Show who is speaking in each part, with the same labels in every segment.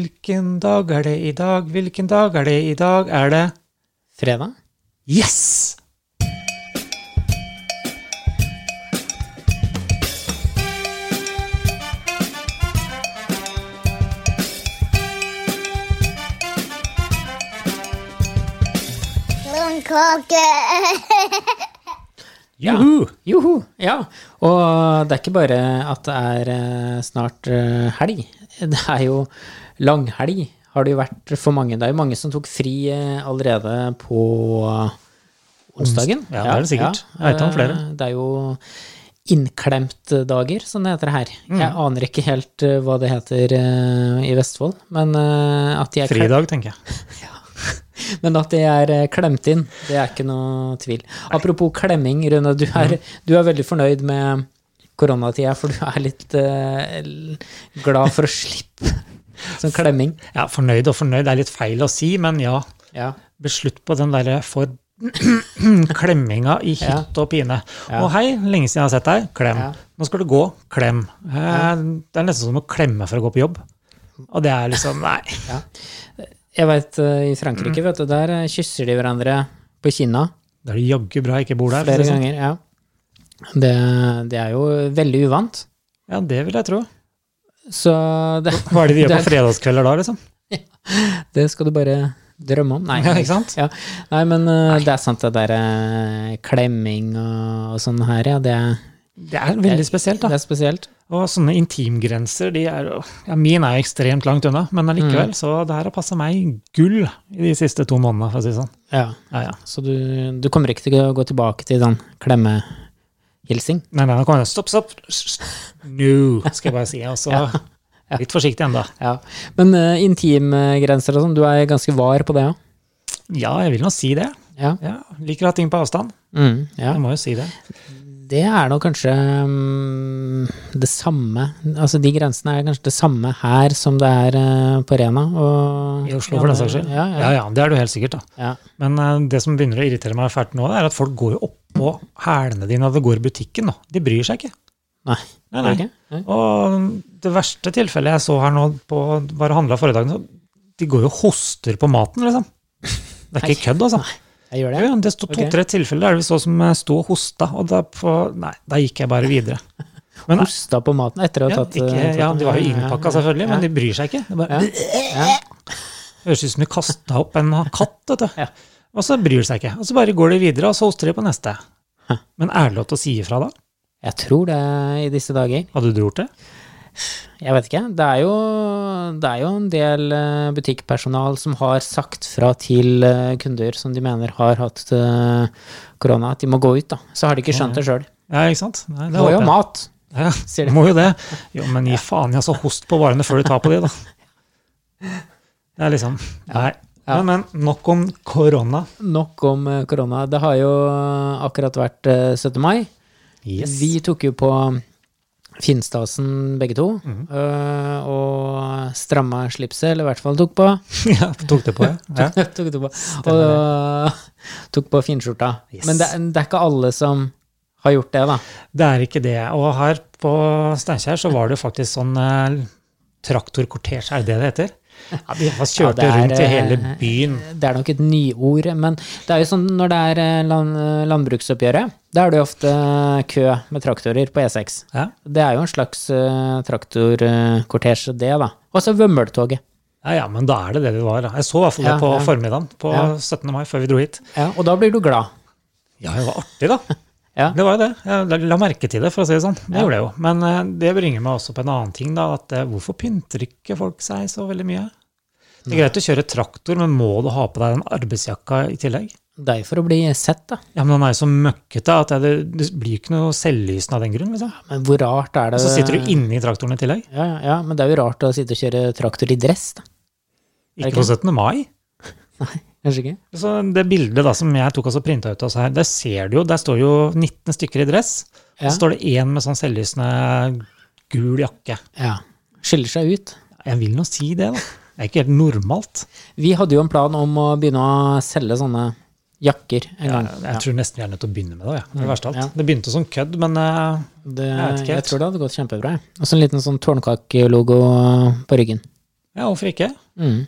Speaker 1: Hvilken dag er det i dag? Hvilken dag er det i dag? Er det
Speaker 2: Fredag?
Speaker 1: Yes!
Speaker 3: Blomkåke.
Speaker 2: Ja.
Speaker 1: Juhu!
Speaker 2: Joho! Ja. Og det er ikke bare at det er eh, snart eh, helg. Det er jo langhelg, har det jo vært for mange. Det er jo mange som tok fri eh, allerede på onsdagen.
Speaker 1: Ja, det er det sikkert.
Speaker 2: ja.
Speaker 1: Jeg vet om flere.
Speaker 2: Eh, Det er jo innklemt-dager, som det heter her.
Speaker 1: Mm.
Speaker 2: Jeg aner ikke helt eh, hva det heter eh, i Vestfold, men eh, at de er klem-
Speaker 1: Fridag, tenker jeg.
Speaker 2: Men at de er eh, klemt inn, det er ikke noe tvil. Apropos klemming, Rune. Du
Speaker 1: Mm.
Speaker 2: er, du er veldig fornøyd med koronatida, for du er litt eh, l- glad for å slippe sånn klemming.
Speaker 1: Ja, Fornøyd og fornøyd, det er litt feil å si, men ja.
Speaker 2: Ja.
Speaker 1: Beslutt på den derre for klemminga i hytt og pine.
Speaker 2: Ja.
Speaker 1: Og hei, lenge siden jeg har sett deg. Klem.
Speaker 2: Ja.
Speaker 1: Nå skal du gå. Klem. Eh, Det er nesten som å klemme for å gå på jobb. Og det er liksom Nei.
Speaker 2: Jeg veit i
Speaker 1: Mm.
Speaker 2: Frankrike, vet du, der eh, kysser de hverandre på kinna
Speaker 1: Da er det jaggu bra jeg ikke bor der. for å
Speaker 2: flere
Speaker 1: si det sånn.
Speaker 2: ganger. Ja. Det, det er jo veldig uvant.
Speaker 1: Ja, det vil jeg tro.
Speaker 2: Så det,
Speaker 1: Hva er det de gjør
Speaker 2: Det
Speaker 1: på fredagskvelder da, liksom?
Speaker 2: det skal du bare drømme om. Nei,
Speaker 1: Ja, ikke sant?
Speaker 2: Ja. Nei, men eh, det er sant, det der eh, klemming og, og sånn her, ja. Det er,
Speaker 1: Det er veldig spesielt, da.
Speaker 2: det er spesielt.
Speaker 1: Og sånne intimgrenser, de er jo ja, Min er jo ekstremt langt unna, men allikevel. Så det her har passa meg gull i de siste to månedene, for å si det sånn.
Speaker 2: Ja.
Speaker 1: Ja, ja.
Speaker 2: Så du, du kommer ikke til å gå tilbake til sånn klemmehilsing?
Speaker 1: Nei, nei, nå kommer jeg Stopp, stopp! Sh- sh- No, skal jeg bare si. Og så litt forsiktig ennå.
Speaker 2: Ja. Men eh, intimgrenser og sånn, du er ganske var på det òg?
Speaker 1: Ja, jeg vil nå si det.
Speaker 2: Ja.
Speaker 1: Ja, liker å ha ting på avstand.
Speaker 2: Mm, ja.
Speaker 1: Jeg må jo si det.
Speaker 2: Det er nok kanskje mm, det samme Altså de grensene er kanskje det samme her som det er eh, på Rena og
Speaker 1: I Oslo, for den saks skyld.
Speaker 2: Ja,
Speaker 1: Ja,
Speaker 2: ja.
Speaker 1: ja, det er du helt sikkert, da.
Speaker 2: ja.
Speaker 1: Men eh, det som begynner å irritere meg fælt nå, er at folk går jo oppå hælene dine når du går i butikken nå. De bryr seg ikke.
Speaker 2: Nei.
Speaker 1: Nei, nei.
Speaker 2: Ok. Nei.
Speaker 1: Og det verste tilfellet jeg så her nå, på, var å handle forrige dag, så de går jo og hoster på maten, liksom. Det er ikke kødd, altså.
Speaker 2: Jeg gjør det.
Speaker 1: Jo, Det sto
Speaker 2: Ok.
Speaker 1: to-tre tilfeller der vi så som eh, sto og hosta, og da, på, nei, da gikk jeg bare videre. Men
Speaker 2: Hosta på maten etter å ha
Speaker 1: ja,
Speaker 2: tatt eh,
Speaker 1: ikke,
Speaker 2: tatt-
Speaker 1: ja, de var jo
Speaker 2: ja, ja,
Speaker 1: innpakka,
Speaker 2: ja.
Speaker 1: selvfølgelig, men de bryr seg ikke. Det bare,
Speaker 2: Ja.
Speaker 1: høres ut som de kasta opp en katt, vet du. Og så bryr de seg ikke. Og så bare går de videre, og så hoster de på neste.
Speaker 2: Hæ.
Speaker 1: Men er det lov til å si ifra da?
Speaker 2: Jeg tror det i disse dager.
Speaker 1: Hadde du gjort det?
Speaker 2: Jeg vet ikke. Det er jo, det er jo en del eh, butikkpersonal som har sagt fra til eh, kunder som de mener har hatt eh, korona, at de må gå ut, da. Så har de ikke skjønt det sjøl.
Speaker 1: Ja, ikke sant? Nei,
Speaker 2: Må
Speaker 1: håper
Speaker 2: jo
Speaker 1: jeg.
Speaker 2: ha mat,
Speaker 1: Ja, Du
Speaker 2: sier de.
Speaker 1: må jo det. Jo, men gi faen i altså host på varene før du tar på de, da. Det er liksom Nei.
Speaker 2: Ja.
Speaker 1: Men, men nok om korona.
Speaker 2: Nok om eh, korona. Det har jo akkurat vært eh, 17. mai.
Speaker 1: Yes.
Speaker 2: Vi tok jo på Finstasen begge to,
Speaker 1: Mhm.
Speaker 2: eh, og stramma slipset, eller i hvert fall tok på.
Speaker 1: ja, tok det på, ja. ja.
Speaker 2: tok, tok på, og tok på finskjorta.
Speaker 1: Yes.
Speaker 2: Men det, er- det er ikke alle som har gjort det, da.
Speaker 1: Det er ikke det. Og her på Steinkjer så var det jo faktisk sånn eh, traktorkortesje, er det det det heter? Ja, De bare
Speaker 2: det
Speaker 1: kjørte
Speaker 2: er,
Speaker 1: rundt i
Speaker 2: eh,
Speaker 1: hele byen.
Speaker 2: Det er nok et nyord, men det er jo sånn når det er eh, land, landbruksoppgjøret, da er det jo ofte eh, kø med traktorer på E6.
Speaker 1: Ja,
Speaker 2: Det er jo en slags uh, traktorkortesje, det, da. Og så Vømmøltoget.
Speaker 1: ja, ja men da er det det det var. da. Jeg så i hvert fall det
Speaker 2: Ja,
Speaker 1: på
Speaker 2: ja.
Speaker 1: formiddagen på
Speaker 2: Ja.
Speaker 1: 17. mai, før vi dro hit.
Speaker 2: Ja, og da blir du glad.
Speaker 1: Ja, det var artig, da.
Speaker 2: Ja.
Speaker 1: Det var jo det. Jeg la- la merke til det, for å si det sånn. Det gjorde jeg jo. Men eh, det bringer meg også på en annen ting, da. At eh, hvorfor pynter ikke folk seg så veldig mye? Det er greit å kjøre traktor, men må du ha på deg den arbeidsjakka i tillegg?
Speaker 2: Det er jo for å bli sett, da.
Speaker 1: Ja, men den er jo så møkkete at det, det blir ikke noe selvlysende av den grunn. liksom.
Speaker 2: Men hvor rart er det
Speaker 1: Og så sitter du inne i traktoren i tillegg.
Speaker 2: Ja, ja, ja, men det er jo rart å sitte og kjøre traktor i dress, da. Er det
Speaker 1: Ikke på 17. mai.
Speaker 2: Kanskje ikke?
Speaker 1: Så det bildet da som jeg tok og printa ut av oss her, der ser du jo, der står jo 19 stykker i dress.
Speaker 2: Ja.
Speaker 1: Så står det én med sånn selvlysende gul jakke.
Speaker 2: Ja. Skiller seg ut.
Speaker 1: Jeg vil nå si det, da. Det er ikke helt normalt.
Speaker 2: Vi hadde jo en plan om å begynne å selge sånne jakker en gang.
Speaker 1: Jeg tror nesten vi er nødt til å begynne med det. Ja. Det, er det verste av alt.
Speaker 2: Ja.
Speaker 1: det begynte som kødd, men eh,
Speaker 2: Det,
Speaker 1: jeg vet ikke
Speaker 2: jeg
Speaker 1: helt.
Speaker 2: tror det hadde gått kjempebra. jeg. Og så en liten sånn tårnkakelogo på ryggen.
Speaker 1: Ja, hvorfor ikke?
Speaker 2: Mm.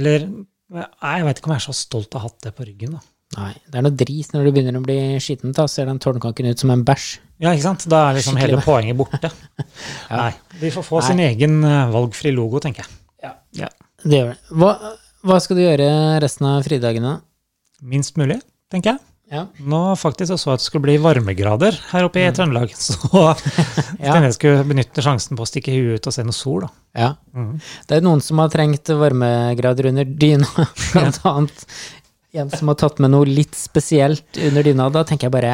Speaker 1: Eller nei, jeg veit ikke om jeg er så stolt av å ha hatt det på ryggen. da.
Speaker 2: Nei, det er noe drit når du begynner å bli skitten, da ser den tårnkanken ut som en bæsj.
Speaker 1: Ja, ikke sant? Da er liksom hele
Speaker 2: Skikkelig.
Speaker 1: poenget borte. Nei, de får få sin egen eh, valgfri logo, tenker jeg. Ja.
Speaker 2: Det gjør det. Hva, hva skal du gjøre resten av fridagene?
Speaker 1: Minst mulig, tenker jeg.
Speaker 2: Ja.
Speaker 1: Nå faktisk så så jeg at det skulle bli varmegrader her oppe i Trøndelag, så tenkte jeg skulle benytte sjansen på å stikke huet ut og se noe sol, da.
Speaker 2: ja.
Speaker 1: Mm.
Speaker 2: Det er noen som har trengt varmegrader under dyna, blant annet en som har tatt med noe litt spesielt under dyna. Da tenker jeg bare,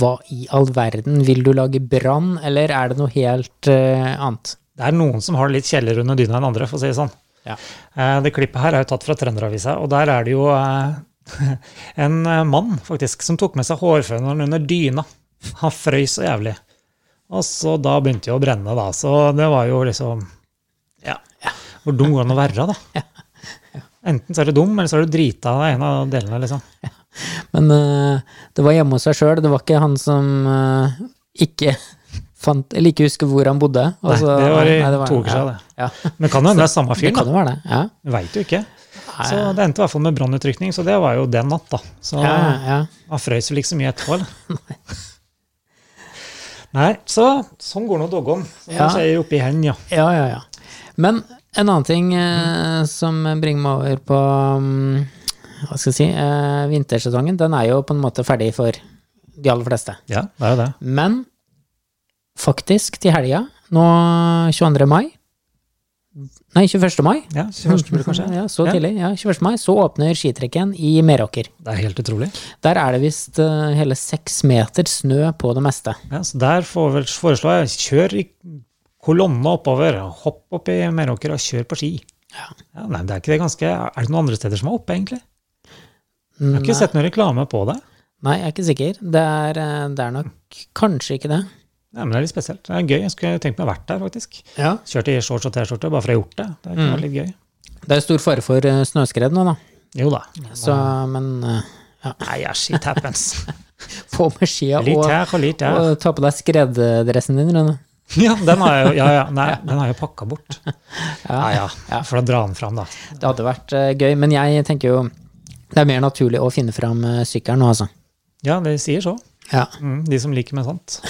Speaker 2: hva i all verden? Vil du lage brann, eller er det noe helt eh, annet?
Speaker 1: Det er noen som har det litt kjeller under dyna enn andre, for å si det sånn.
Speaker 2: Ja.
Speaker 1: Eh, Det klippet her er jo tatt fra Trønderavisa, og der er det jo eh, en eh, mann faktisk som tok med seg hårføneren under dyna. Han frøys så jævlig. Og så da begynte det å brenne, da. Så det var jo liksom Ja. Hvor dum går det an å være, da? Enten så er du dum, eller så er du drita av en av delene, liksom.
Speaker 2: Men eh, det var hjemme hos seg sjøl, det var ikke han som eh, ikke fant Eller ikke husker hvor han bodde. Altså,
Speaker 1: Nei, det var i to uker
Speaker 2: ja,
Speaker 1: siden, det.
Speaker 2: Ja.
Speaker 1: Men det kan jo hende det er samme
Speaker 2: Det
Speaker 1: fyren, da.
Speaker 2: kan jo være det. Ja,
Speaker 1: Veit jo ikke. Så det endte i hvert fall med brannutrykning, så det var jo den natt, da. Så
Speaker 2: ja, ja.
Speaker 1: Han frøys vel ikke så mye etterpå, eller? Nei, så sånn går nå doggåen. Som
Speaker 2: Ja.
Speaker 1: du sier oppi hen, ja.
Speaker 2: ja, ja, ja. Men en annen ting
Speaker 1: Mm.
Speaker 2: eh, som bringer meg over på mm, hva skal jeg si, eh, vintersesongen, den er jo på en måte ferdig for de aller fleste.
Speaker 1: Ja, det er jo det.
Speaker 2: Men faktisk, til helga, nå 22. mai Nei, 21. mai.
Speaker 1: Ja, 21. blir det kanskje.
Speaker 2: Ja, så
Speaker 1: Ja.
Speaker 2: tidlig. Ja, 21. mai så åpner skitrekken i Meråker.
Speaker 1: Det er helt utrolig.
Speaker 2: Der er det visst eh, hele seks meter snø på det meste.
Speaker 1: Ja, så der får vel foreslå jeg, kjør i kolonne oppover, hopp opp i Meråker og kjør på ski.
Speaker 2: Ja.
Speaker 1: nei, det er ikke det ganske, er det noen andre steder som er oppe, egentlig? Jeg har
Speaker 2: Nei.
Speaker 1: ikke sett noen reklame på det.
Speaker 2: Nei, jeg er ikke sikker. Det er, eh, det er nok kanskje ikke det.
Speaker 1: Nei, men det er litt spesielt. Det er gøy. Jeg skulle tenkt meg å ha vært der, faktisk.
Speaker 2: Ja.
Speaker 1: Kjørt i shorts og T-skjorte, bare for å ha gjort det. Det
Speaker 2: Mm.
Speaker 1: kunne vært litt gøy.
Speaker 2: Det er stor fare for eh, snøskred nå, da.
Speaker 1: Jo da.
Speaker 2: Så, men eh, ja,
Speaker 1: Nei, ja, shit happens.
Speaker 2: få med skia
Speaker 1: Litt
Speaker 2: og,
Speaker 1: her og litt der.
Speaker 2: og ta på deg skreddressen din, Rune.
Speaker 1: Ja, den har jeg jo, ja, ja, nei, den har jeg jo pakka bort. Ja, ja, For å dra den fram, da.
Speaker 2: Det hadde vært eh, gøy, men jeg tenker jo det er mer naturlig å finne fram eh, sykkelen nå, altså.
Speaker 1: Ja, de sier så.
Speaker 2: Ja,
Speaker 1: Mm, de som liker meg sånt.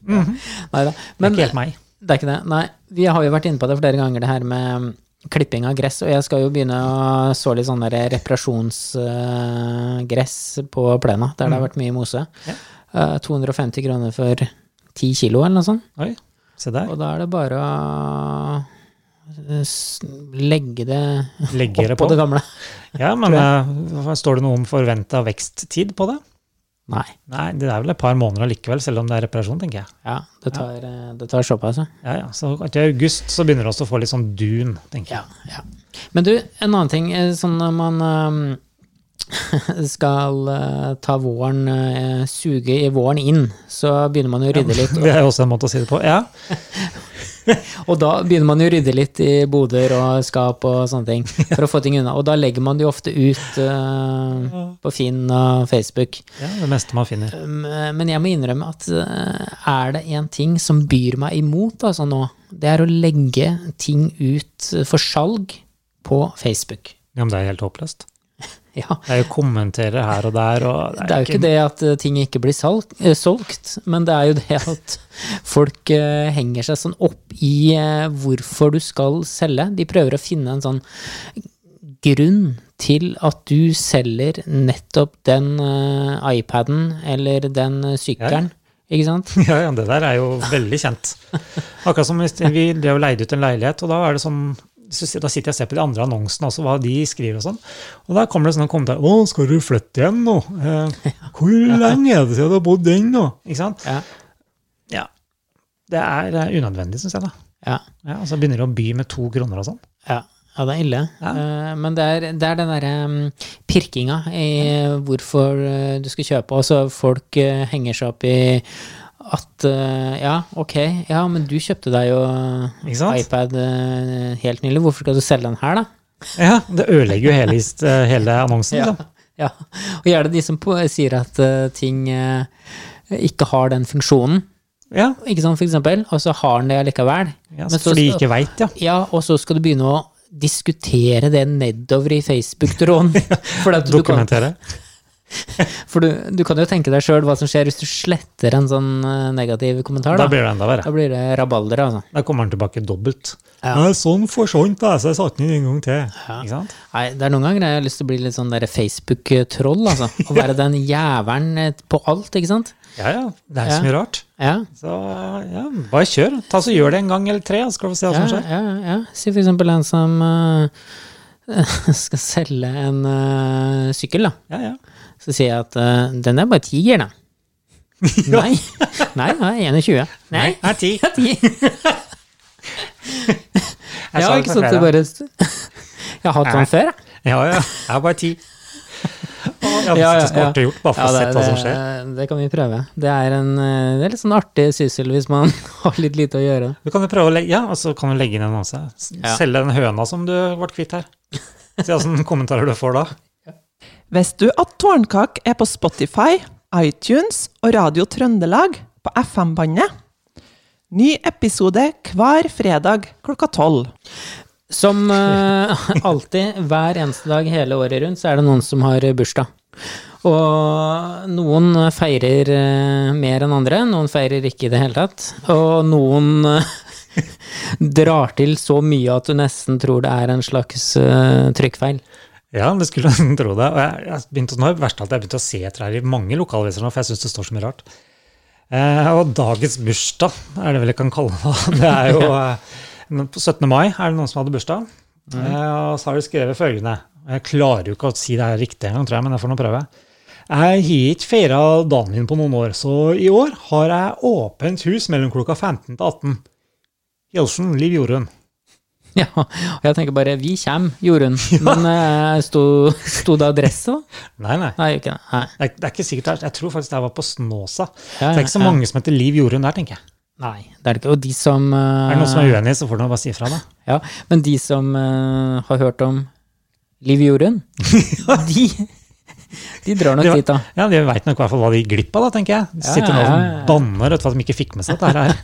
Speaker 1: Det
Speaker 2: neida.
Speaker 1: er
Speaker 2: Men
Speaker 1: ikke helt meg.
Speaker 2: Det er ikke det. Nei, vi har jo vært inne på det flere ganger, det her med mm, klipping av gress, og jeg skal jo begynne å så litt sånn der reparasjonsgress på plena, der det har vært mye mose.
Speaker 1: Mm. Ja.
Speaker 2: Eh, 250 kroner for 10 kilo eller noe sånt,
Speaker 1: Oi, se der.
Speaker 2: og da er det bare å eh, s- legge det
Speaker 1: Legge det
Speaker 2: oppå
Speaker 1: på.
Speaker 2: det gamle.
Speaker 1: Ja, men eh, hva- står det noe om forventa veksttid på det?
Speaker 2: Nei,
Speaker 1: Nei, det er vel et par måneder allikevel, selv om det er reparasjon, tenker jeg.
Speaker 2: ja, det tar, eh, det tar såpass, ja.
Speaker 1: Ja, ja, Så til august så begynner det også å få litt sånn dun, tenker
Speaker 2: Ja,
Speaker 1: jeg.
Speaker 2: ja. Men du, en annen ting, eh, sånn når man eh, skal eh, ta våren, eh, suge i våren inn, så begynner man jo å rydde litt.
Speaker 1: Det er jo også en måte å si det på. Ja,
Speaker 2: Og da begynner man jo å rydde litt i boder og skap og sånne ting, for å få ting unna. Og da legger man det jo ofte ut eh, på Finn og Facebook.
Speaker 1: ja Det meste man finner.
Speaker 2: Um, eh, Men jeg må innrømme at eh, er det en ting som byr meg imot altså nå, det er å legge ting ut for salg på Facebook.
Speaker 1: Ja, men det er helt håpløst.
Speaker 2: Ja,
Speaker 1: Det er jo kommentarer her og der, og
Speaker 2: Det er jo ikke det at eh, ting ikke blir salg, eh, solgt, men det er jo det at folk eh, henger seg sånn opp i eh, hvorfor du skal selge. De prøver å finne en sånn grunn til at du selger nettopp den eh, iPaden eller den eh, sykkelen. Ikke sant?
Speaker 1: Ja, ja, det der er jo veldig kjent. Akkurat som hvis vi drev og leide ut en leilighet, og da er det sånn så si- da sitter jeg og ser på de andre annonsene også, hva de skriver og sånn. Og da kommer det sånne kommentarer. 'Å, skal du flytte igjen nå? Eh, hvor lenge er det siden du har bodd den nå?' Ikke sant?
Speaker 2: Ja.
Speaker 1: Ja. Det er eh, unødvendig, syns jeg, da.
Speaker 2: Ja,
Speaker 1: Ja, og så begynner de å by med to kroner og sånn.
Speaker 2: ja. ja det er ille. Eh, Men det er, det er den derre mm, pirkinga i hvorfor eh, du skal kjøpe, og så folk eh, henger seg opp i at eh, ja, ok, ja, men du kjøpte deg jo
Speaker 1: Ikke sant?
Speaker 2: iPad eh, helt nylig, hvorfor skal du selge den her, da?
Speaker 1: Ja, Det ødelegger jo hele, hist- eh, hele annonsen.
Speaker 2: Ja.
Speaker 1: da.
Speaker 2: ja. Og gjerne de som på, sier at eh, ting eh, ikke har den funksjonen,
Speaker 1: Ja,
Speaker 2: ikke sant, for eksempel, og så har den det allikevel.
Speaker 1: ja
Speaker 2: Men så-
Speaker 1: fordi de ikke veit, ja.
Speaker 2: Ja, og så skal du begynne å diskutere det nedover i Facebook-tråden. For, at du, kan,
Speaker 1: Dokumentere.
Speaker 2: for du, du kan jo tenke deg sjøl hva som skjer hvis du sletter en sånn eh, negativ kommentar.
Speaker 1: Da
Speaker 2: Da,
Speaker 1: blir det enda verre.
Speaker 2: da blir det rabalder, altså.
Speaker 1: Da kommer han tilbake dobbelt.
Speaker 2: Ja.
Speaker 1: Nei, sånn forsvant jeg, så jeg satte den inn en gang til. Ikke sant?
Speaker 2: Nei, det er noen ganger jeg har lyst til å bli litt sånn der Facebook-troll, altså. Å være den jævelen eh, på alt, ikke sant?
Speaker 1: Ja, ja. Det er
Speaker 2: Ja.
Speaker 1: så mye rart.
Speaker 2: Ja.
Speaker 1: Så ja, bare kjør. Ta så Gjør det en gang eller tre, så skal vi se hva
Speaker 2: Ja,
Speaker 1: som
Speaker 2: ja,
Speaker 1: skjer.
Speaker 2: ja, ja. Si for eksempel en som eh, skal selge en eh, sykkel, da.
Speaker 1: Ja, ja.
Speaker 2: Så sier jeg at eh, den er bare tiger, da. Nei, nei, nei, 21. Nei,
Speaker 1: Her er ti.
Speaker 2: det er ti.
Speaker 1: Jeg
Speaker 2: Ja,
Speaker 1: sa det
Speaker 2: ikke
Speaker 1: for
Speaker 2: sant, det
Speaker 1: flere.
Speaker 2: bare Jeg har hatt
Speaker 1: Nei.
Speaker 2: sånn før, jeg.
Speaker 1: Ja, ja. Jeg er bare ti. Ja,
Speaker 2: Ja,
Speaker 1: det
Speaker 2: ja,
Speaker 1: er smart
Speaker 2: ja.
Speaker 1: gjort, bare for
Speaker 2: Ja,
Speaker 1: å
Speaker 2: det,
Speaker 1: se hva som
Speaker 2: det-
Speaker 1: skjer.
Speaker 2: Det kan vi prøve. Det er, en, eh, det er litt sånn artig syssel hvis man har litt lite å gjøre.
Speaker 1: Du kan jo prøve å legge, ja, og så kan du legge inn en annonse. S-
Speaker 2: Ja.
Speaker 1: Selge den høna som du ble kvitt her. Se hvilke kommentarer du får da.
Speaker 4: Visste du at Tårnkak er på Spotify, iTunes og Radio Trøndelag på FM-bandet? Ny episode hver fredag klokka tolv.
Speaker 2: Som eh, alltid, hver eneste dag hele året rundt, så er det noen som har bursdag. Og noen feirer eh, mer enn andre, noen feirer ikke i det hele tatt. Og noen eh, drar til så mye at du nesten tror det er en slags eh, trykkfeil.
Speaker 1: Ja, det skulle man tro det. Og jeg, jeg begynte, nå er det verst at jeg begynte å se etter her i mange lokalaviser nå, for jeg syns det står så mye rart. Eh, og dagens bursdag er det vel jeg kan kalle det. Det er jo eh, men På 17. mai er det noen som hadde bursdag, eh, og så har de skrevet følgende Jeg klarer jo ikke å si det her riktig engang, tror jeg, men jeg får nå prøve. Jeg har ikke feira dagen min på noen år, så i år har jeg åpent hus mellom klokka 15 til 18. Hilsen Liv Jorunn.
Speaker 2: Ja, og jeg tenker bare 'vi kjem', Jorunn. Men eh, sto, sto det adresse, da?
Speaker 1: Nei, nei.
Speaker 2: Nei, ikke det. Nei.
Speaker 1: Det er, det er ikke sikkert, det er- jeg tror faktisk det her var på Snåsa.
Speaker 2: Ja,
Speaker 1: det er ikke så
Speaker 2: ja, ja.
Speaker 1: mange som heter Liv Jorunn der, tenker jeg.
Speaker 2: Nei, det er det ikke. Og de som eh,
Speaker 1: Er det noen som er uenig, så får du bare si ifra, da.
Speaker 2: Ja, men de som eh, har hørt om Liv Jorunn, de, de drar nok
Speaker 1: De var-
Speaker 2: dit, da.
Speaker 1: Ja, De veit nok i hvert fall hva de gikk glipp av, da, tenker jeg. De
Speaker 2: Ja,
Speaker 1: sitter nå
Speaker 2: ja, ja,
Speaker 1: og
Speaker 2: ja.
Speaker 1: banner vet du, for at de ikke fikk med seg dette her.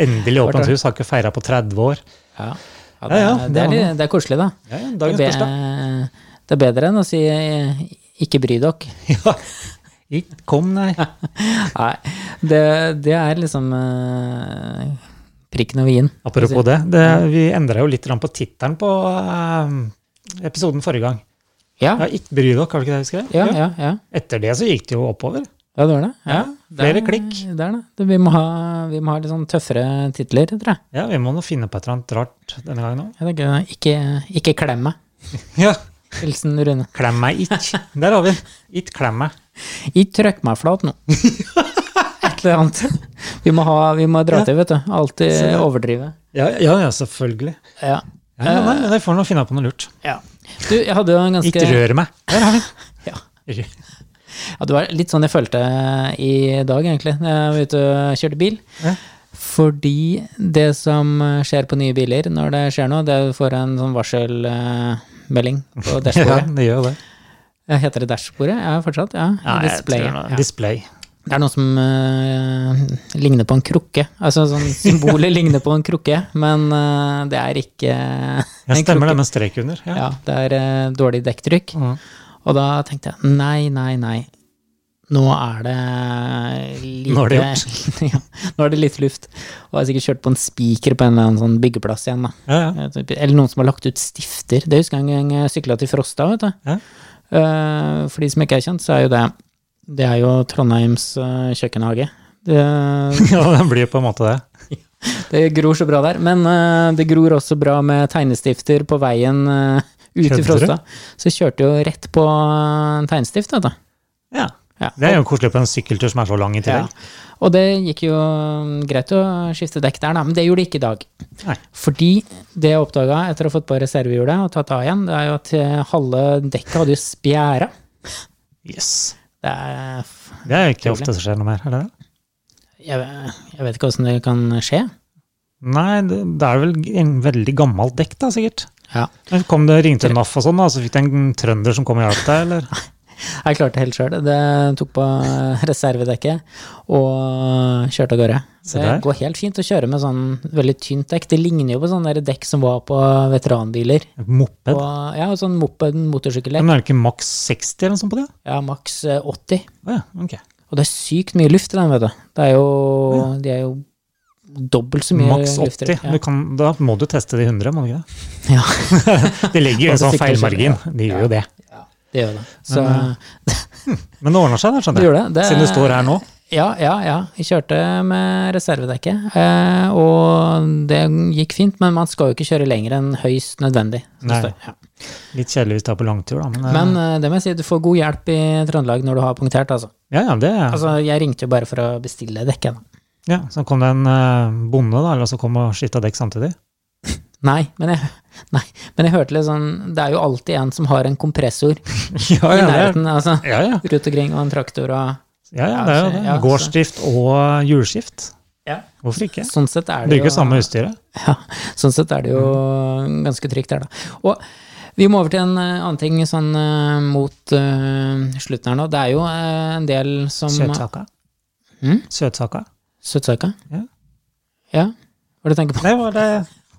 Speaker 1: Endelig åpent
Speaker 2: Klart det.
Speaker 1: hus, har ikke feira på 30 år.
Speaker 2: Ja, det,
Speaker 1: Ja, ja,
Speaker 2: er-
Speaker 1: det
Speaker 2: det,
Speaker 1: var
Speaker 2: er, litt- det er koselig, da.
Speaker 1: Ja, ja,
Speaker 2: Det er,
Speaker 1: dagens bursdag.
Speaker 2: be, det er bedre enn å si eh, 'ikke bry dere'.
Speaker 1: Ja. Ikke kom, nei.
Speaker 2: Nei, det, det er liksom eh, prikken over i-en.
Speaker 1: Apropos det, det
Speaker 2: Mm.
Speaker 1: vi endra jo litt grann på tittelen på eh, episoden forrige gang.
Speaker 2: Ja,
Speaker 1: Ja, Ikke bry dere, har du ikke det vi skrev?
Speaker 2: ja, ja. ja.
Speaker 1: Etter det så gikk det jo oppover.
Speaker 2: Ja, det var det. Ja,
Speaker 1: flere
Speaker 2: det er-
Speaker 1: klikk.
Speaker 2: Det er det. det. Vi må ha, vi må ha litt sånn tøffere titler, tror jeg.
Speaker 1: Ja, Vi må nå finne på et eller annet rart denne gangen òg.
Speaker 2: jeg tenker, ikke, ikke klem meg.
Speaker 1: Ja.
Speaker 2: Hilsen Rune.
Speaker 1: Klem meg ikke. Der har vi den. Ikke klem meg.
Speaker 2: Ikke trøkk meg flat nå. Et eller annet. Vi må, ha, vi må dra til, vet du. Alltid overdrive.
Speaker 1: Ja, ja, ja selvfølgelig.
Speaker 2: Ja.
Speaker 1: Ja, ja, nei, men jeg får nå finne på noe lurt.
Speaker 2: Du, jeg hadde jo en ganske
Speaker 1: Ikke rør meg. Der har vi den.
Speaker 2: Ja.
Speaker 1: Rø-
Speaker 2: Ja, det var litt sånn jeg følte i dag, egentlig, når jeg var ute og kjørte bil.
Speaker 1: Ja.
Speaker 2: Fordi det som skjer på nye biler når det skjer noe, det er at du får en sånn varselmelding på
Speaker 1: Ja,
Speaker 2: dashbordet.
Speaker 1: det gjør jo det.
Speaker 2: Ja, Heter det dashbordet? Ja, fortsatt. Ja, displayet.
Speaker 1: Display.
Speaker 2: Ja.
Speaker 1: Display.
Speaker 2: Det er noe som eh, ligner på en krukke. Altså sånn symbolet ligner på en krukke, men eh, det er ikke
Speaker 1: Jeg
Speaker 2: en
Speaker 1: stemmer det
Speaker 2: krukke.
Speaker 1: med strek under. Ja.
Speaker 2: Ja, det er eh, dårlig dekktrykk.
Speaker 1: Mhm.
Speaker 2: Og da tenkte jeg nei, nei, nei. Nå er det lite
Speaker 1: Nå er det
Speaker 2: ja, nå er det litt luft. Og jeg har sikkert kjørt på en spiker på en eller annen sånn byggeplass igjen, da.
Speaker 1: Ja, ja.
Speaker 2: Eh, Eller noen som har lagt ut stifter. Det husker jeg en gang jeg sykla til Frosta, vet du.
Speaker 1: Ja.
Speaker 2: Eh, For de som ikke er kjent, så er jo det Det er jo Trondheims eh, kjøkkenhage. Det,
Speaker 1: ja, det blir på en måte det.
Speaker 2: det gror så bra der. Men eh, det gror også bra med tegnestifter på veien eh, ut
Speaker 1: Kødder du?
Speaker 2: i Frosta. Så jeg kjørte jo rett på en tegnestift, vet du.
Speaker 1: Ja.
Speaker 2: Ja.
Speaker 1: Det er jo koselig på en sykkeltur som er så lang i tillegg.
Speaker 2: Ja. Og det gikk jo mm, greit å skifte dekk der, da, men det gjorde det ikke i dag.
Speaker 1: Nei.
Speaker 2: Fordi det jeg oppdaga etter å ha fått på reservehjulet og tatt av igjen, det er jo at eh, halve dekket hadde jo spjæra.
Speaker 1: Yes.
Speaker 2: Det er f-
Speaker 1: Det er jo ikke
Speaker 2: Utrolig.
Speaker 1: ofte det skjer noe mer, er det det?
Speaker 2: Jeg, jeg vet ikke åssen det kan skje.
Speaker 1: Nei, det, det er vel en veldig gammelt dekk, da, sikkert.
Speaker 2: Ja.
Speaker 1: Men Kom det ringte NAF og sånn, da, så fikk det en trønder som kom og hjalp deg, eller?
Speaker 2: Jeg klarte det helt sjøl. Det tok på eh, reservedekket og kjørte av gårde.
Speaker 1: Se
Speaker 2: Det
Speaker 1: der.
Speaker 2: går helt fint å kjøre med sånn veldig tynt dekk. Det ligner jo på sånne der dekk som var på veteranbiler.
Speaker 1: Moped.
Speaker 2: Og, ja, sånn moped, motorsykkeldekk.
Speaker 1: Men er det ikke maks 60 eller noe sånt på det?
Speaker 2: Ja, maks eh, 80.
Speaker 1: Å ja, ok.
Speaker 2: Og det er sykt mye luft i den, vet du. Det er jo, De er jo dobbelt så mye
Speaker 1: Maks
Speaker 2: luft i
Speaker 1: 80.
Speaker 2: den.
Speaker 1: Du kan, da må du teste de 100, må du ikke det?
Speaker 2: Ja.
Speaker 1: De legger jo
Speaker 2: Og
Speaker 1: en
Speaker 2: så
Speaker 1: sånn
Speaker 2: sikrer seg,
Speaker 1: feilmargin. De gjør jo det.
Speaker 2: Ja. ja, det gjør det. Så,
Speaker 1: Men, Men det ordner seg, da,
Speaker 2: det
Speaker 1: skjønner jeg.
Speaker 2: gjør det. det
Speaker 1: Siden du står her nå.
Speaker 2: Ja, ja, ja. Jeg kjørte med reservedekket, eh, og det gikk fint, men man skal jo ikke kjøre lenger enn høyst nødvendig. som
Speaker 1: Nei.
Speaker 2: står. Ja.
Speaker 1: Litt kjedelig hvis du er på langtur, da. Men, eh,
Speaker 2: Men eh, det må jeg si, du får god hjelp i Trøndelag når du har punktert, altså.
Speaker 1: ja, ja, det
Speaker 2: Altså, jeg ringte jo bare for å bestille dekket. da.
Speaker 1: ja, Så kom det en eh, bonde, da, eller så kom og skifta dekk samtidig.
Speaker 2: Nei, men jeg, nei, men jeg hørte litt sånn Det er jo alltid en som har en kompressor
Speaker 1: Ja,
Speaker 2: i
Speaker 1: ja, det er,
Speaker 2: nærheten, altså.
Speaker 1: ja, ja.
Speaker 2: Rundt omkring, og en traktor og
Speaker 1: ja, ja, det er jo det.
Speaker 2: Ja, så-
Speaker 1: Gårdsdrift og eh, hjulskift.
Speaker 2: Ja.
Speaker 1: Hvorfor ikke?
Speaker 2: Sånn sett er det
Speaker 1: Bruker
Speaker 2: jo
Speaker 1: samme utstyret.
Speaker 2: Ja, sånn sett er det jo ganske trygt der, da. Og vi må over til en eh, annen ting sånn eh, mot eh, slutten her nå. Det er jo eh, en del som
Speaker 1: Søtsaka.
Speaker 2: Mm?
Speaker 1: Søtsaka.
Speaker 2: Søtsaka?
Speaker 1: Ja.
Speaker 2: Ja? Hva er det du tenker på?
Speaker 1: Det var det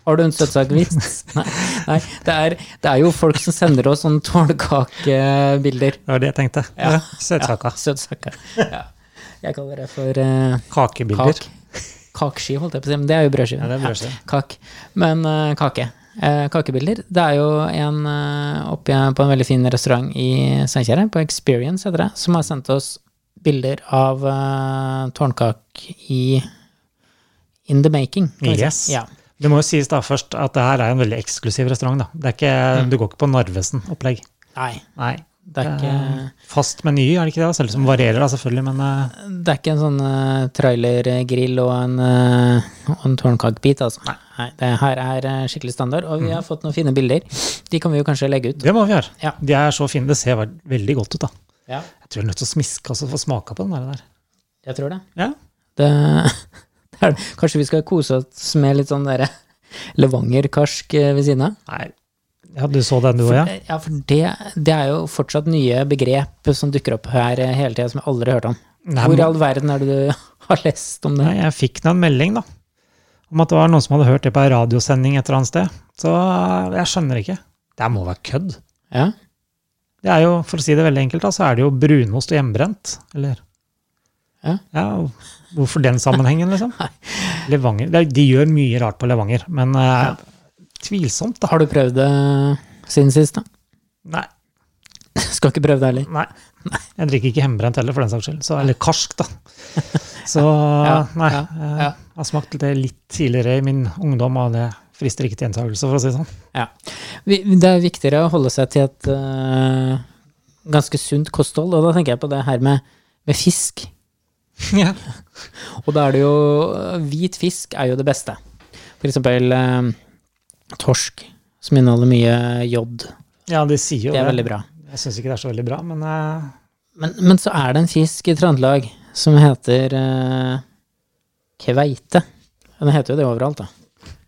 Speaker 2: Har du en søtsakevits? Nei. Nei det, er, det er jo folk som sender oss sånn sånne tårnkakebilder.
Speaker 1: Det var det jeg tenkte.
Speaker 2: Ja.
Speaker 1: Ja. Søtsaka.
Speaker 2: Søtsaka. Ja. Jeg kaller det for eh,
Speaker 1: Kakebilder.
Speaker 2: kak. Kakeski, holdt jeg på å si, men det er jo brødskive.
Speaker 1: Ja, det er brødskive.
Speaker 2: Kak. Men eh, kake. Eh, kakebilder. Det er jo en eh, oppe på en veldig fin restaurant i Steinkjer, på Experience heter det, som har sendt oss bilder av eh, tårnkak i In the making. kan vi si.
Speaker 1: Yes.
Speaker 2: Ja.
Speaker 1: Det må jo sies da først at det her er en veldig eksklusiv restaurant. da. Det er ikke, Du går ikke på Narvesen-opplegg.
Speaker 2: Mm. Nei,
Speaker 1: Nei.
Speaker 2: det er
Speaker 1: Eh.
Speaker 2: ikke
Speaker 1: Fast meny, er det ikke det? da? Selv om det varierer, da, selvfølgelig. Men eh,
Speaker 2: Det er ikke en sånn eh, trailergrill og en, eh, og en tårnkakebit, altså. Nei. det her er eh, skikkelig standard, og
Speaker 1: Mm.
Speaker 2: vi har fått noen fine bilder. De kan vi jo kanskje legge ut.
Speaker 1: det må vi gjøre.
Speaker 2: Ja.
Speaker 1: De er så fine. Det ser ve- veldig godt ut. da.
Speaker 2: Ja,
Speaker 1: Jeg tror jeg er nødt til å smiske og så få smaka på den der. der.
Speaker 2: jeg tror det.
Speaker 1: Ja.
Speaker 2: det, det er, det. kanskje vi skal kose oss med litt sånn derre Levanger-karsk eh, ved siden av?
Speaker 1: Nei. Ja, Du så den, du òg? Ja.
Speaker 2: Eh, Ja, for det, det er jo fortsatt nye begrep som dukker opp her eh, hele tida, som jeg aldri har hørt om.
Speaker 1: Nei,
Speaker 2: Hvor i
Speaker 1: men-
Speaker 2: all verden er det du har lest om det?
Speaker 1: Nei, jeg fikk nå en melding da, om at det var noen som hadde hørt det på en radiosending et eller annet sted. Så eh, jeg skjønner ikke. Det her må være kødd.
Speaker 2: Ja,
Speaker 1: Det er jo, for å si det veldig enkelt, da, så er det jo brunost og hjemmebrent. Eller
Speaker 2: Ja.
Speaker 1: Hvorfor den sammenhengen, liksom? Levanger. det er- De gjør mye rart på Levanger, men eh, tvilsomt, da.
Speaker 2: Har du prøvd det siden sist, da?
Speaker 1: Nei.
Speaker 2: Skal ikke prøve det heller.
Speaker 1: nei. Jeg drikker ikke hjemmebrent heller, for den saks skyld. Så, eller karsk, da. Så nei.
Speaker 2: ja,
Speaker 1: eh,
Speaker 2: ja.
Speaker 1: Jeg har smakt det litt tidligere i min ungdom, og det frister ikke til gjentagelse, for å si det sånn.
Speaker 2: Ja. Vi- Det er viktigere å holde seg til et eh, ganske sunt kosthold, og da tenker jeg på det her med, med fisk.
Speaker 1: Ja.
Speaker 2: Og da er det jo eh, Hvit fisk er jo det beste. For eksempel eh, torsk, som inneholder mye jod.
Speaker 1: Ja, de sier jo
Speaker 2: Det er veldig bra.
Speaker 1: Jeg syns ikke det er så veldig bra, men eh,
Speaker 2: Men, men så er det en fisk i Trøndelag som heter eh, kveite. Den heter jo det overalt, da.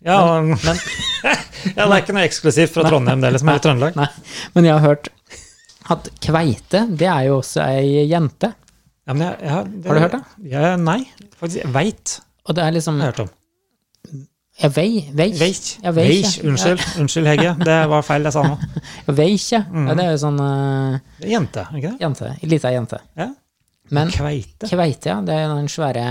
Speaker 1: ja, ja, det er ikke noe eksklusivt fra Trondheim, det, liksom, eller Trøndelag.
Speaker 2: Nei, men jeg har hørt at kveite, det er jo også ei jente.
Speaker 1: Ja, men jeg, jeg, det,
Speaker 2: Har du hørt det?
Speaker 1: Ja, nei, faktisk. Jeg veit
Speaker 2: Og det er liksom
Speaker 1: har jeg hørt om.
Speaker 2: Jeg vei, vei,
Speaker 1: Veit.
Speaker 2: Ja, veik,
Speaker 1: Veik.
Speaker 2: ja.
Speaker 1: Unnskyld, unnskyld, Hege. Det var feil, jeg sa nå.
Speaker 2: Veikje. Ja, det er jo
Speaker 1: Mhm.
Speaker 2: sånn eh,
Speaker 1: Det er Jente, er det ikke det?
Speaker 2: jente. Lita jente.
Speaker 1: Ja.
Speaker 2: Men
Speaker 1: Kveite.
Speaker 2: kveite, ja, det er jo den svære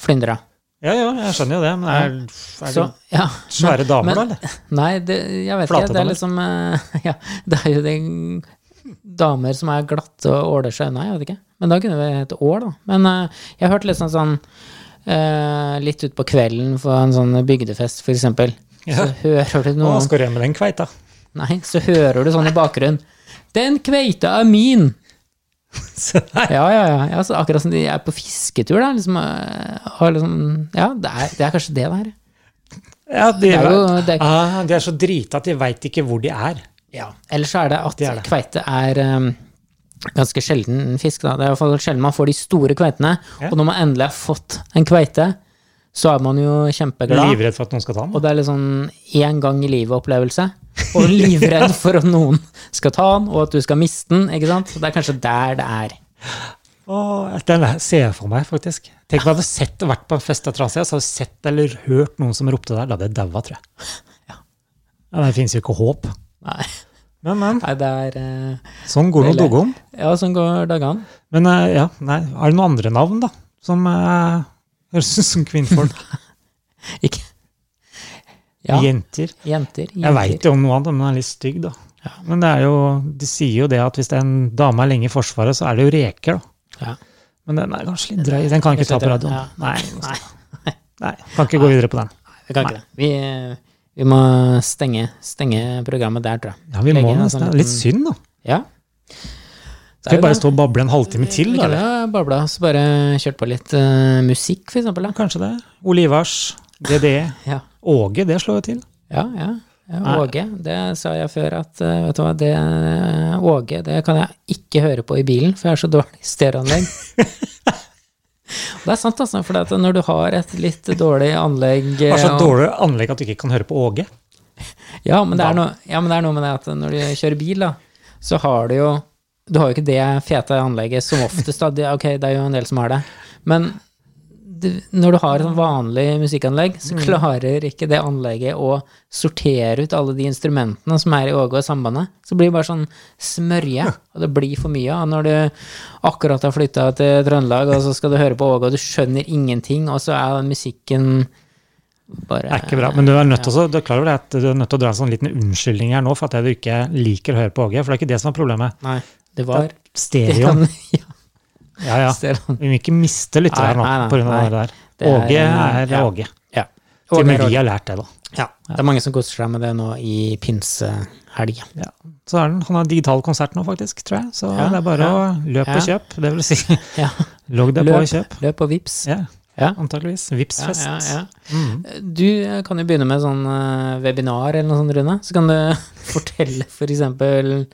Speaker 2: flyndra.
Speaker 1: Ja, ja, jeg skjønner jo det, men er, er det
Speaker 2: Så, ja.
Speaker 1: svære damer, da, eller?
Speaker 2: Nei, det, jeg vet ikke. Det er
Speaker 1: Flate
Speaker 2: liksom eh, Ja, det er jo de damer som er glatte og åler seg unna, jeg vet ikke. Men da kunne vi hete Ål, da. Men eh, jeg har hørt litt sånn sånn eh, Litt utpå kvelden på en sånn bygdefest, for eksempel. Så
Speaker 1: Ja.
Speaker 2: hører du
Speaker 1: Å,
Speaker 2: noen
Speaker 1: skal du hjem med den kveita?
Speaker 2: Nei, så hører du sånn i bakgrunnen. Den kveita er min!
Speaker 1: Se der.
Speaker 2: Ja, ja, ja. ja så akkurat som de er på fisketur, da. Liksom, eh, har liksom, ja, det er, det er kanskje det det er.
Speaker 1: Ja, de,
Speaker 2: Det er jo det er,
Speaker 1: ah, de er så drita at de veit ikke hvor de er.
Speaker 2: ja. Ellers så er det at
Speaker 1: Det er det.
Speaker 2: kveite er eh, ganske sjelden fisk. Da. Det er i hvert fall sjelden man får de store kveitene.
Speaker 1: Ja.
Speaker 2: Og når man endelig har fått en kveite, så er man jo kjempeglad.
Speaker 1: Livredd for at noen skal ta den.
Speaker 2: liksom Og det er litt sånn én gang i livet-opplevelse. Og livredd for at noen skal ta den, og at du skal miste den. ikke sant? Så det er kanskje der det er.
Speaker 1: Åh, den ser jeg for meg, faktisk. Tenk om jeg hadde sett, vært på en fest av Transia, så hadde jeg sett eller hørt noen som ropte der. Da hadde jeg daua, tror jeg. Ja, Det fins jo ikke håp.
Speaker 2: Nei,
Speaker 1: Men, men.
Speaker 2: nei det er eh,
Speaker 1: Sånn går det å
Speaker 2: Eller-
Speaker 1: dogge om.
Speaker 2: Ja, sånn går dagene.
Speaker 1: Men eh, ja, nei, er det noen andre navn, da? Som eh, høres ut som kvinnfolk?
Speaker 2: Ikke Ja,
Speaker 1: Jenter?
Speaker 2: jenter.
Speaker 1: Jeg
Speaker 2: jenter.
Speaker 1: veit jo om noe annet, men den er litt stygg, da. Men det er jo, de sier jo det at hvis det er en dame er lenge i Forsvaret, så er det jo reker, da.
Speaker 2: Ja.
Speaker 1: Men den er kanskje litt drøy. Den kan jeg ikke ta på radioen.
Speaker 2: Ja.
Speaker 1: Nei,
Speaker 2: Nei,
Speaker 1: nei, kan ikke gå videre på den.
Speaker 2: vi kan
Speaker 1: Nei.
Speaker 2: ikke det. Vi, eh, vi må stenge, stenge programmet der, tror jeg.
Speaker 1: Ja, vi må
Speaker 2: Legge en
Speaker 1: nesten.
Speaker 2: sånn
Speaker 1: det er Litt
Speaker 2: liten-
Speaker 1: synd, da.
Speaker 2: Ja.
Speaker 1: Skal vi bare stå og bable en halvtime til, da?
Speaker 2: da?
Speaker 1: eller?
Speaker 2: Babla, så bare kjørt på litt eh, musikk, for eksempel. Da.
Speaker 1: Kanskje det. Ole Ivars, DDE,
Speaker 2: Ja.
Speaker 1: E. Åge, det slår jo til.
Speaker 2: Ja, ja. ja Åge. Det sa jeg før at eh, vet du hva, det, Åge det kan jeg ikke høre på i bilen, for jeg har så dårlig stereoanlegg. det er sant, altså. For at når du har et litt dårlig anlegg eh,
Speaker 1: Det er så
Speaker 2: og-
Speaker 1: dårlig anlegg at du ikke kan høre på Åge.
Speaker 2: Ja, men det er noe, ja, men det er noe med det at når du kjører bil, da, så har du jo Du har jo ikke det fete anlegget som oftest, da. Det, ok, det er jo en del som har det. Men du, når du har et sånn vanlig musikkanlegg, så
Speaker 1: Mm.
Speaker 2: klarer ikke det anlegget å sortere ut alle de instrumentene som er i Åge og Sambandet. Så det blir det bare sånn smørje, og det blir for mye av når du akkurat har flytta til Trøndelag, og så skal du høre på Åge, og du skjønner ingenting, og så er den musikken bare
Speaker 1: Det er ikke bra. Men du er nødt til å, du er klar over det at du er nødt til å dra en sånn liten unnskyldning her nå for at du ikke liker å høre på Åge. For det er ikke det som er problemet.
Speaker 2: Nei, det var
Speaker 1: Stereoen.
Speaker 2: Ja.
Speaker 1: Ja, ja.
Speaker 2: Stereoen.
Speaker 1: Vi må ikke miste lyttere her nå
Speaker 2: Nei, nei, nei,
Speaker 1: pga. det
Speaker 2: nei.
Speaker 1: der.
Speaker 2: Det er-
Speaker 1: Åge er
Speaker 2: ja.
Speaker 1: Åge.
Speaker 2: Ja.
Speaker 1: Til og med
Speaker 2: Åge
Speaker 1: vi
Speaker 2: Råd.
Speaker 1: har lært det, da.
Speaker 2: ja. Det er mange som koser seg med det nå i pinsehelga.
Speaker 1: Ja. Så er den, han har digital konsert nå, faktisk, tror jeg. Så
Speaker 2: Ja,
Speaker 1: det er bare
Speaker 2: ja,
Speaker 1: å løpe og
Speaker 2: ja.
Speaker 1: kjøp. Det vil si,
Speaker 2: Ja.
Speaker 1: logg deg på og kjøp.
Speaker 2: Løp, løp og vips.
Speaker 1: Ja,
Speaker 2: Ja.
Speaker 1: antakeligvis.
Speaker 2: Ja,
Speaker 1: Vipsfest.
Speaker 2: ja, ja.
Speaker 1: Mm.
Speaker 2: Du eh, kan jo begynne med sånn eh, webinar eller noe sånt, Rune. Så kan du fortelle for eksempel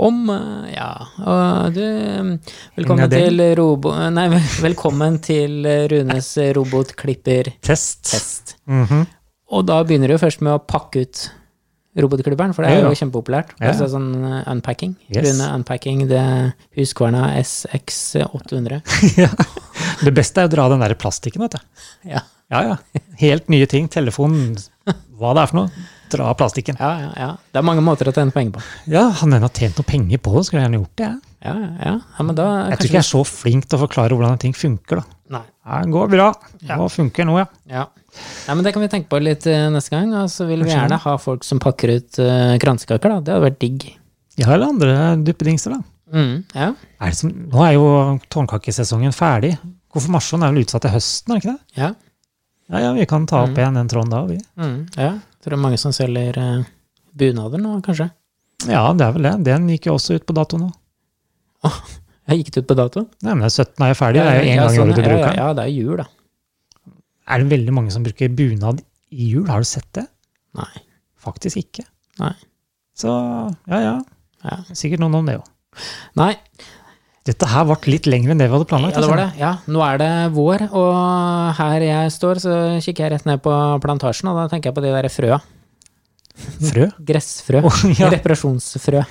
Speaker 2: om eh, Ja, og du eh, Velkommen
Speaker 1: Inga del.
Speaker 2: til robo... Nei, vel- velkommen til eh, Runes robotklippertest.
Speaker 1: Test. Mhm.
Speaker 2: Og da begynner du jo først med å pakke ut robotklipperen, for det
Speaker 1: Ja,
Speaker 2: er
Speaker 1: ja.
Speaker 2: jo kjempepopulært.
Speaker 1: Ja.
Speaker 2: Altså sånn eh, unpacking.
Speaker 1: Yes.
Speaker 2: Rune unpacking, det Husqvarna SX800.
Speaker 1: Det beste er å dra den der plastikken, vet du.
Speaker 2: Ja,
Speaker 1: Ja, ja. Helt nye ting. Telefon, hva det er for noe. Dra av plastikken.
Speaker 2: ja, ja. ja. Det er mange måter å tjene penger på.
Speaker 1: Ja, han ene har tjent noe penger på det, skulle jeg gjerne gjort det. jeg.
Speaker 2: Ja, ja, ja. ja men da
Speaker 1: Jeg tror ikke jeg er så flink til å forklare hvordan ting funker, da.
Speaker 2: Nei.
Speaker 1: Ja, det går bra. Nå funker nå, ja.
Speaker 2: Ja. Nei, men det kan vi tenke på litt eh, neste gang. Og så vil vi gjerne ha folk som pakker ut eh, kransekaker, da. Det hadde vært digg.
Speaker 1: Jeg har andre duppedingser, da.
Speaker 2: Mm, ja.
Speaker 1: Er det som, nå er jo tårnkakesesongen ferdig. Konfirmasjonen er vel utsatt til høsten, er det ikke det?
Speaker 2: Ja.
Speaker 1: Ja, ja, vi kan ta opp igjen den tråden da. Vi.
Speaker 2: Mm, ja. Tror det er mange som selger eh, bunader nå, kanskje.
Speaker 1: Ja, det er vel det. Den gikk jo også ut på dato nå.
Speaker 2: Ja, Gikk det ut på dato?
Speaker 1: Nei, men 17 er jo ferdig, det er jo én
Speaker 2: ja,
Speaker 1: gang i
Speaker 2: sånn,
Speaker 1: året du
Speaker 2: ja,
Speaker 1: bruker
Speaker 2: ja,
Speaker 1: den.
Speaker 2: ja, det er jul, da.
Speaker 1: Er det veldig mange som bruker bunad i jul? Har du sett det?
Speaker 2: Nei.
Speaker 1: Faktisk ikke.
Speaker 2: Nei.
Speaker 1: Så ja, ja.
Speaker 2: Ja.
Speaker 1: Sikkert noen om det òg.
Speaker 2: Nei,
Speaker 1: Dette her ble litt lengre enn det vi hadde planlagt.
Speaker 2: ja, det var det. Ja, nå er det vår, og her jeg står, så kikker jeg rett ned på plantasjen, og da tenker jeg på de der frøa.
Speaker 1: altså. Frø.
Speaker 2: Gressfrø.
Speaker 1: Å, ja.
Speaker 2: Reparasjonsfrø.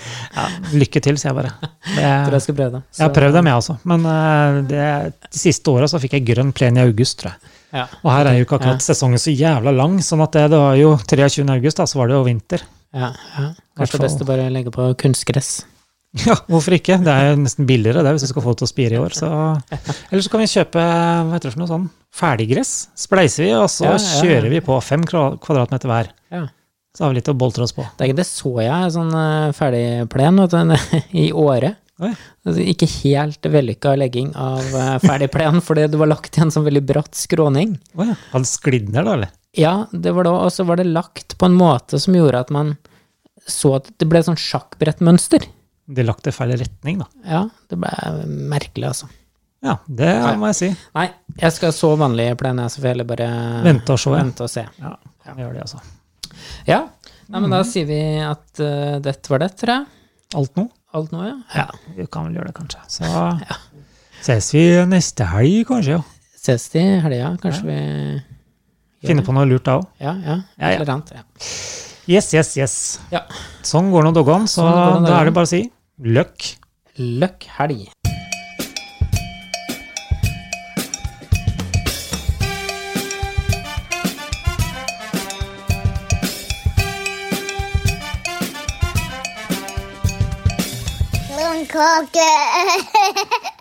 Speaker 1: Lykke til, sier jeg bare.
Speaker 2: Tror
Speaker 1: Det,
Speaker 2: jeg skal prøve det.
Speaker 1: jeg har prøvd dem, jeg også. Men eh, det, de siste åra så fikk jeg grønn plen i august, tror jeg.
Speaker 2: Ja.
Speaker 1: Og her er jo ikke akkurat sesongen så jævla lang, sånn at det, det var jo 23. august, da, så var det jo vinter.
Speaker 2: Ja, ja. Kanskje det er best å bare legge på kunstgress.
Speaker 1: Ja, hvorfor ikke? Det er jo nesten billigere det, hvis du skal få det til å spire i år. Så. Eller så kan vi kjøpe hva heter det for noe sånn, ferdiggress. Spleiser vi, og så
Speaker 2: Ja, ja, ja.
Speaker 1: kjører vi på fem kva- kvadratmeter hver.
Speaker 2: Ja.
Speaker 1: Så har vi litt å boltre oss på.
Speaker 2: Det, er ikke, det så jeg, sånn eh, ferdigplen vet du, i året.
Speaker 1: Oi.
Speaker 2: Altså, Ikke helt vellykka legging av eh, ferdigplen, fordi det var lagt i en sånn veldig bratt skråning.
Speaker 1: Å ja. Hadde sklidd ned, da, eller?
Speaker 2: Ja, det var da, og så var det lagt på en måte som gjorde at man så at det ble et sånt sjakkbrettmønster.
Speaker 1: De lagt det i feil retning, da.
Speaker 2: Ja, det ble merkelig, altså.
Speaker 1: Ja, det må jeg si.
Speaker 2: Nei, jeg skal så vanlig plen, jeg, så får jeg heller bare
Speaker 1: Vente og se. ja.
Speaker 2: vente og se.
Speaker 1: Ja, vi gjør det, altså.
Speaker 2: Ja, Nei, men da sier vi at eh, dette var det, tror jeg.
Speaker 1: Alt nå?
Speaker 2: Alt nå, ja.
Speaker 1: Ja, vi kan vel gjøre det, kanskje. Så ses vi neste helg, kanskje. Ja.
Speaker 2: Ses til helga, kanskje vi
Speaker 1: Finne på noe lurt da òg.
Speaker 2: Ja, ja.
Speaker 1: Ja, ja.
Speaker 2: Eller annet. Ja.
Speaker 1: Yes, yes, yes.
Speaker 2: Ja.
Speaker 1: Sånn går nå doggene, så
Speaker 2: Sånn går nå
Speaker 1: da
Speaker 2: doggene.
Speaker 1: er det bare å si løkk.
Speaker 2: Løkk helg.
Speaker 3: Lundkake.